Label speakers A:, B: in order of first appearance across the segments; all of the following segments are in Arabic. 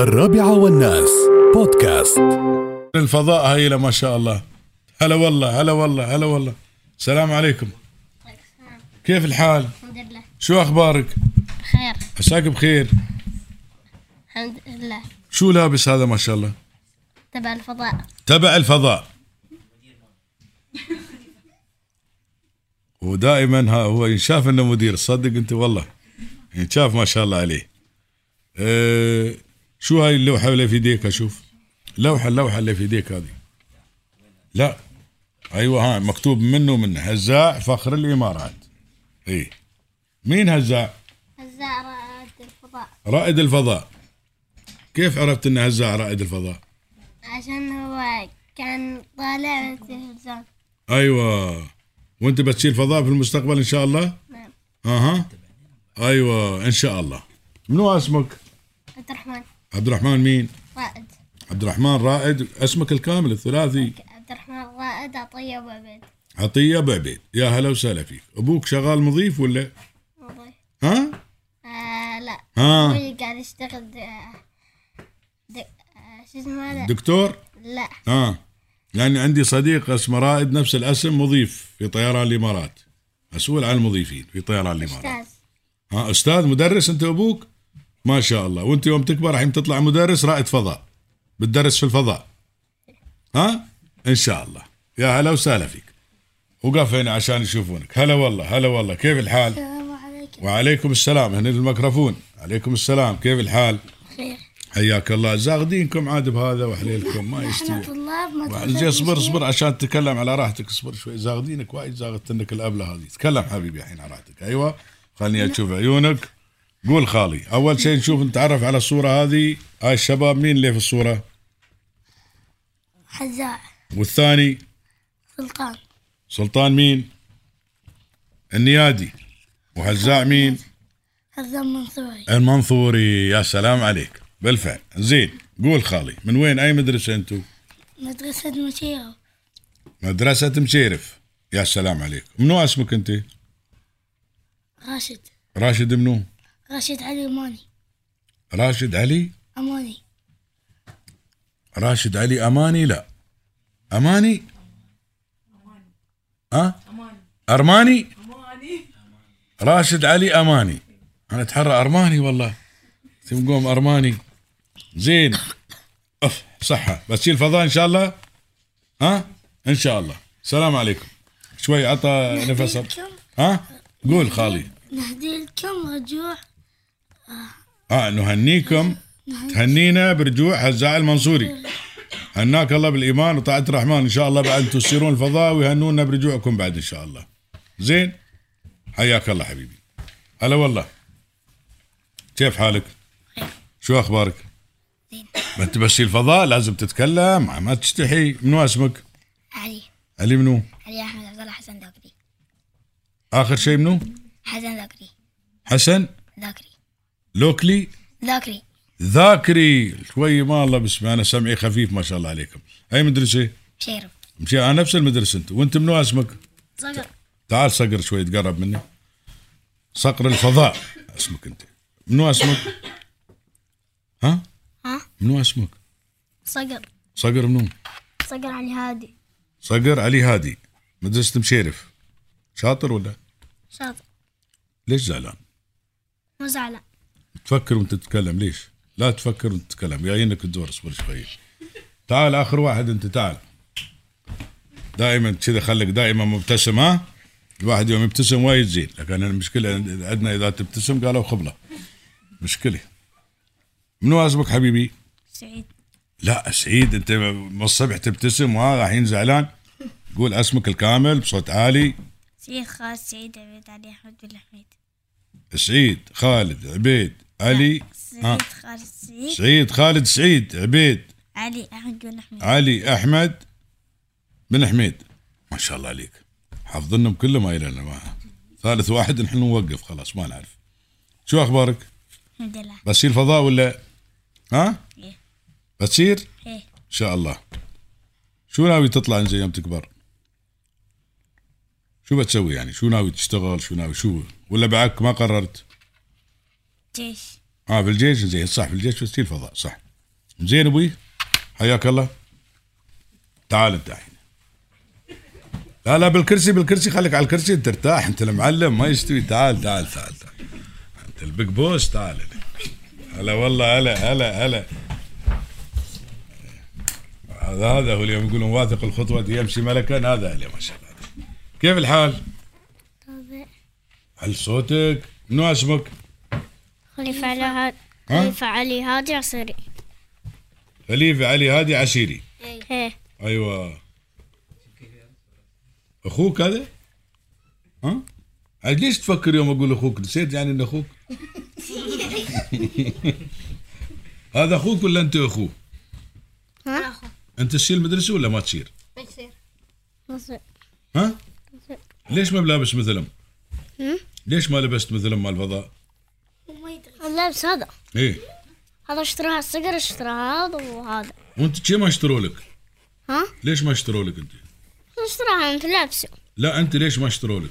A: الرابعة والناس بودكاست
B: الفضاء هايلة ما شاء الله هلا والله هلا والله هلا والله السلام عليكم كيف الحال
C: الحمد لله
B: شو أخبارك
C: بخير
B: عساك بخير
C: الحمد لله
B: شو لابس هذا ما شاء الله
C: تبع الفضاء
B: تبع الفضاء ودائما ها هو ينشاف انه مدير صدق انت والله ينشاف ما شاء الله عليه أه شو هاي اللوحه اللي في يديك اشوف لوحه اللوحه اللي في يديك هذه لا ايوه ها مكتوب منه من هزاع فخر الامارات اي مين هزاع
C: هزاع رائد الفضاء
B: رائد الفضاء كيف عرفت ان هزاع رائد الفضاء
C: عشان هو كان طالع من التلفزيون
B: ايوه وانت بتصير فضاء في المستقبل ان شاء الله
C: نعم
B: اها ايوه ان شاء الله منو اسمك
C: عبد الرحمن
B: عبد الرحمن مين
C: رائد
B: عبد الرحمن رائد اسمك الكامل الثلاثي
C: عبد الرحمن رائد عطية أبو عبيد
B: عطيه بعبيد يا هلا وسهلا فيك ابوك شغال مضيف ولا
C: والله
B: ها
C: آه لا
B: ها
C: أبوي قاعد يشتغل د- د- آه، شو اسمه هذا؟
B: دكتور
C: لا
B: ها لان عندي صديق اسمه رائد نفس الاسم مضيف في طيران الامارات مسؤول عن المضيفين في طيران الامارات
C: أستاذ
B: ها استاذ مدرس انت ابوك ما شاء الله وانت يوم تكبر الحين تطلع مدرس رائد فضاء بتدرس في الفضاء ها ان شاء الله يا هلا وسهلا فيك وقف هنا عشان يشوفونك هلا والله هلا والله كيف الحال
C: السلام عليكم
B: وعليكم السلام هنا الميكروفون عليكم السلام كيف الحال
C: بخير
B: حياك الله زاغدينكم عاد بهذا وحليلكم ما يشتي
C: طلاب
B: زين اصبر اصبر عشان تتكلم على راحتك اصبر شوي زاغدينك وايد زاغدتنك الابله هذه تكلم حبيبي الحين على راحتك ايوه خليني اشوف عيونك قول خالي اول شيء نشوف نتعرف على الصوره هذه هاي الشباب مين اللي في الصوره
C: حزاع
B: والثاني
C: سلطان
B: سلطان مين النيادي وهزاع مين
C: حزام منصوري
B: المنصوري يا سلام عليك بالفعل زين قول خالي من وين اي مدرسه انتم
C: مدرسة مشيرة
B: مدرسه مشيرف يا سلام عليك منو اسمك انت
C: راشد
B: راشد منو
C: راشد علي أماني
B: راشد علي
C: أماني
B: راشد علي اماني لا اماني ها ارماني راشد علي اماني انا اتحرى ارماني والله تمقوم ارماني زين اف صحه بس شيل فضاء ان شاء الله ها ان شاء الله السلام عليكم شوي عطى نفسه ها قول خالي
C: نهدي لكم رجوع
B: اه نهنيكم تهنينا برجوع هزاع المنصوري هناك الله بالايمان وطاعه الرحمن ان شاء الله بعد تسيرون الفضاء ويهنونا برجوعكم بعد ان شاء الله زين حياك الله حبيبي هلا والله كيف حالك شو اخبارك
C: زين.
B: ما انت بس الفضاء لازم تتكلم ما تشتحي منو اسمك
C: علي
B: علي منو
C: علي أحمد عبد الله حسن ذاكري
B: اخر شيء منو
C: حسن ذاكري
B: حسن
C: ذاكري
B: لوكلي
C: ذاكري
B: ذاكري شوي ما الله بسمع انا سمعي خفيف ما شاء الله عليكم اي مدرسه
C: مشيرة
B: مشي انا نفس المدرسه انت وانت منو اسمك؟
C: صقر
B: تعال صقر شوي تقرب مني صقر الفضاء اسمك انت منو اسمك؟ ها؟
C: ها
B: منو اسمك؟
C: صقر
B: صقر منو؟
C: صقر علي هادي
B: صقر علي هادي مدرسة مشيرف شاطر ولا؟
C: شاطر
B: ليش زعلان؟
C: مو زعلان
B: تفكر وانت تتكلم ليش؟ لا تفكر وانت تتكلم جايينك الدور اصبر شوي تعال اخر واحد انت تعال دائما كذا خليك دائما مبتسم ها الواحد يوم يبتسم وايد زين لكن المشكله عندنا اذا تبتسم قالوا خبله مشكله منو اسمك حبيبي؟
C: سعيد
B: لا سعيد انت من الصبح تبتسم وهذا الحين زعلان قول اسمك الكامل بصوت عالي
C: سعيد خالد سعيد عبيد علي أحمد بن حميد
B: سعيد خالد عبيد علي ها.
C: سعيد خالد سعيد
B: سعيد خالد سعيد عبيد
C: علي أحمد بن حميد
B: علي احمد بن حميد ما شاء الله عليك حافظنهم كلهم هاي لنا معها ثالث واحد نحن نوقف خلاص ما نعرف شو اخبارك
C: الحمد لله
B: بتصير فضاء ولا ها
C: إيه.
B: بتصير ان
C: إيه
B: شاء الله شو ناوي تطلع زي يوم تكبر شو بتسوي يعني شو ناوي تشتغل شو ناوي شو ولا بعدك ما قررت
C: جيش
B: آه، اه في الجيش زين صح في الجيش بتصير فضاء صح زين ابوي حياك الله تعال انت الحين لا لا بالكرسي بالكرسي خليك على الكرسي انت ترتاح انت المعلم ما يستوي تعال تعال تعال, تعال. انت البيج بوس تعال هنا. هلا والله هلا هلا هلا هذا هذا هو اليوم يقولون واثق الخطوة يمشي ملكا هذا اليوم ما شاء الله عليك. كيف الحال؟
C: طب
B: هل صوتك؟ منو اسمك؟
C: خليفة علي هاد
B: ها؟
C: خليفة علي هادي عصري
B: خليفة علي هادي عشيري
C: ايه
B: ايوه اخوك هذا؟ ها؟ عاد ليش تفكر يوم اقول اخوك؟ نسيت يعني ان اخوك؟ هذا اخوك ولا انت اخوه؟
C: ها
B: انت تشيل المدرسه ولا ما تشيل؟
C: مصر
B: ها؟ ليش ما بلابس مثلهم؟ ليش ما لبست مثلهم مال الفضاء؟
C: اللبس هذا
B: ايه
C: هذا اشتراها الصقر اشتراها هذا وهذا
B: وانت شي ما اشتروا لك؟
C: ها
B: ليش ما اشتروا لك انت؟
C: اشتراها انت لابسه
B: لا انت ليش ما اشتروا لك؟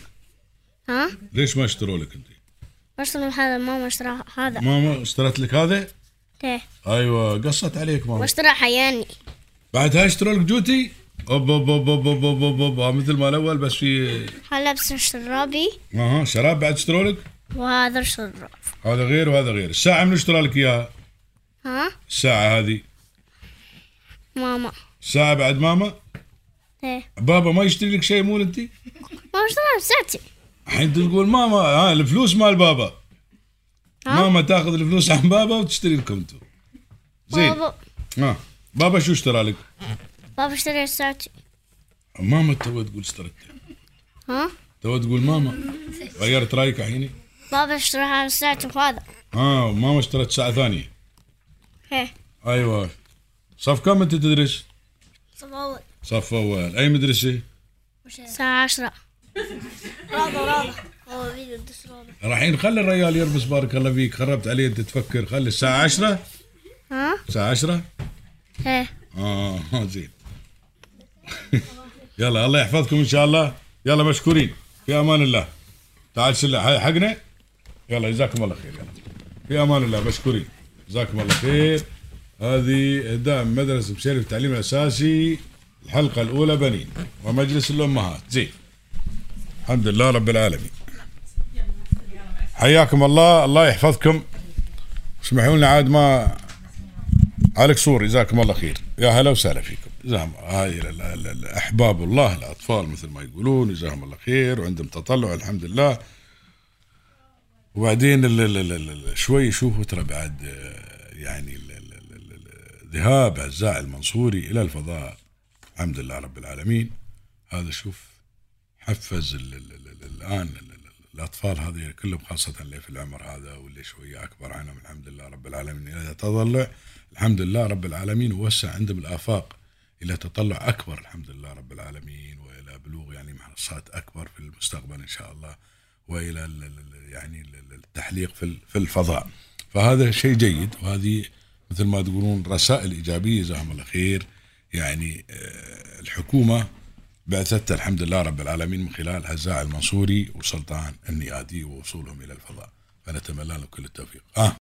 C: ها
B: ليش ما اشتروا لك انت؟
C: اشترى هذا ماما اشتراها هذا
B: ماما اشترت لك هذا؟
C: ايه
B: ايوه قصت عليك ماما
C: واشترى حياني
B: بعد هاي اشتروا لك جوتي اوب اوب اوب اوب اوب اوب, أوب, أوب, مثل ما الاول بس في
C: هاللبس شرابي
B: اها شراب بعد اشتروا لك
C: وهذا شراب
B: هذا غير وهذا غير الساعه من اشترى لك اياها
C: ها
B: الساعه هذه
C: ماما
B: الساعه بعد ماما
C: ايه
B: بابا ما يشتري لك شيء مو انت
C: ما اشتراها بساتي
B: الحين تقول ماما ها الفلوس مال بابا
C: ها؟
B: ماما تاخذ الفلوس عن بابا وتشتري لكم انتم زين
C: بابا
B: ها بابا شو اشترى لك؟
C: بابا اشترى ساتي
B: ماما تو تقول اشترت
C: ها
B: تو تقول ماما غيرت رايك الحين
C: بابا اشتراها ساتي وهذا
B: ها ماما اشترت ساعه ثانيه
C: ايه
B: ايوه صف كم انت تدرس؟
C: صباوت
B: صف اول اي مدرسه؟
C: الساعة عشرة
B: رايحين خلي الرجال يلبس بارك الله فيك خربت عليه انت تفكر خلي الساعه 10
C: ها
B: الساعه 10
C: ايه
B: اه آه، زين يلا الله يحفظكم ان شاء الله يلا مشكورين في امان الله تعال سلة هاي حقنا يلا جزاكم الله خير يلا في امان الله مشكورين جزاكم الله خير هذه دعم مدرسه بشير التعليم الاساسي الحلقه الاولى بنين ومجلس الامهات زين الحمد لله رب العالمين حياكم الله الله يحفظكم اسمحوا لنا عاد ما عليك صور جزاكم الله خير يا هلا وسهلا فيكم جزاهم هاي ال- ال- ال- احباب الله الاطفال مثل ما يقولون جزاهم الله خير وعندهم تطلع الحمد لله وبعدين ال- ال- ال- ال- ال- شوي شوفوا ترى بعد آه، يعني ال- ال- ال- ال- ال- ذهاب هزاع المنصوري الى الفضاء الحمد لله رب العالمين هذا شوف حفز ال- ال- ال- ال- الان ال- ال- الاطفال هذه كلهم خاصه اللي في العمر هذا واللي شويه اكبر عنهم الحمد لله رب العالمين الى تطلع الحمد لله رب العالمين ووسع عندهم الافاق الى تطلع اكبر الحمد لله رب العالمين والى بلوغ يعني محصات اكبر في المستقبل ان شاء الله والى ال- ال- ال- يعني ال- ال- التحليق في ال- في الفضاء فهذا شيء جيد وهذه مثل ما تقولون رسائل ايجابيه جزاهم الله خير يعني آه، الحكومه بعثتها الحمد لله رب العالمين من خلال هزاع المنصوري وسلطان النيادي ووصولهم الى الفضاء فنتمنى لهم كل التوفيق آه.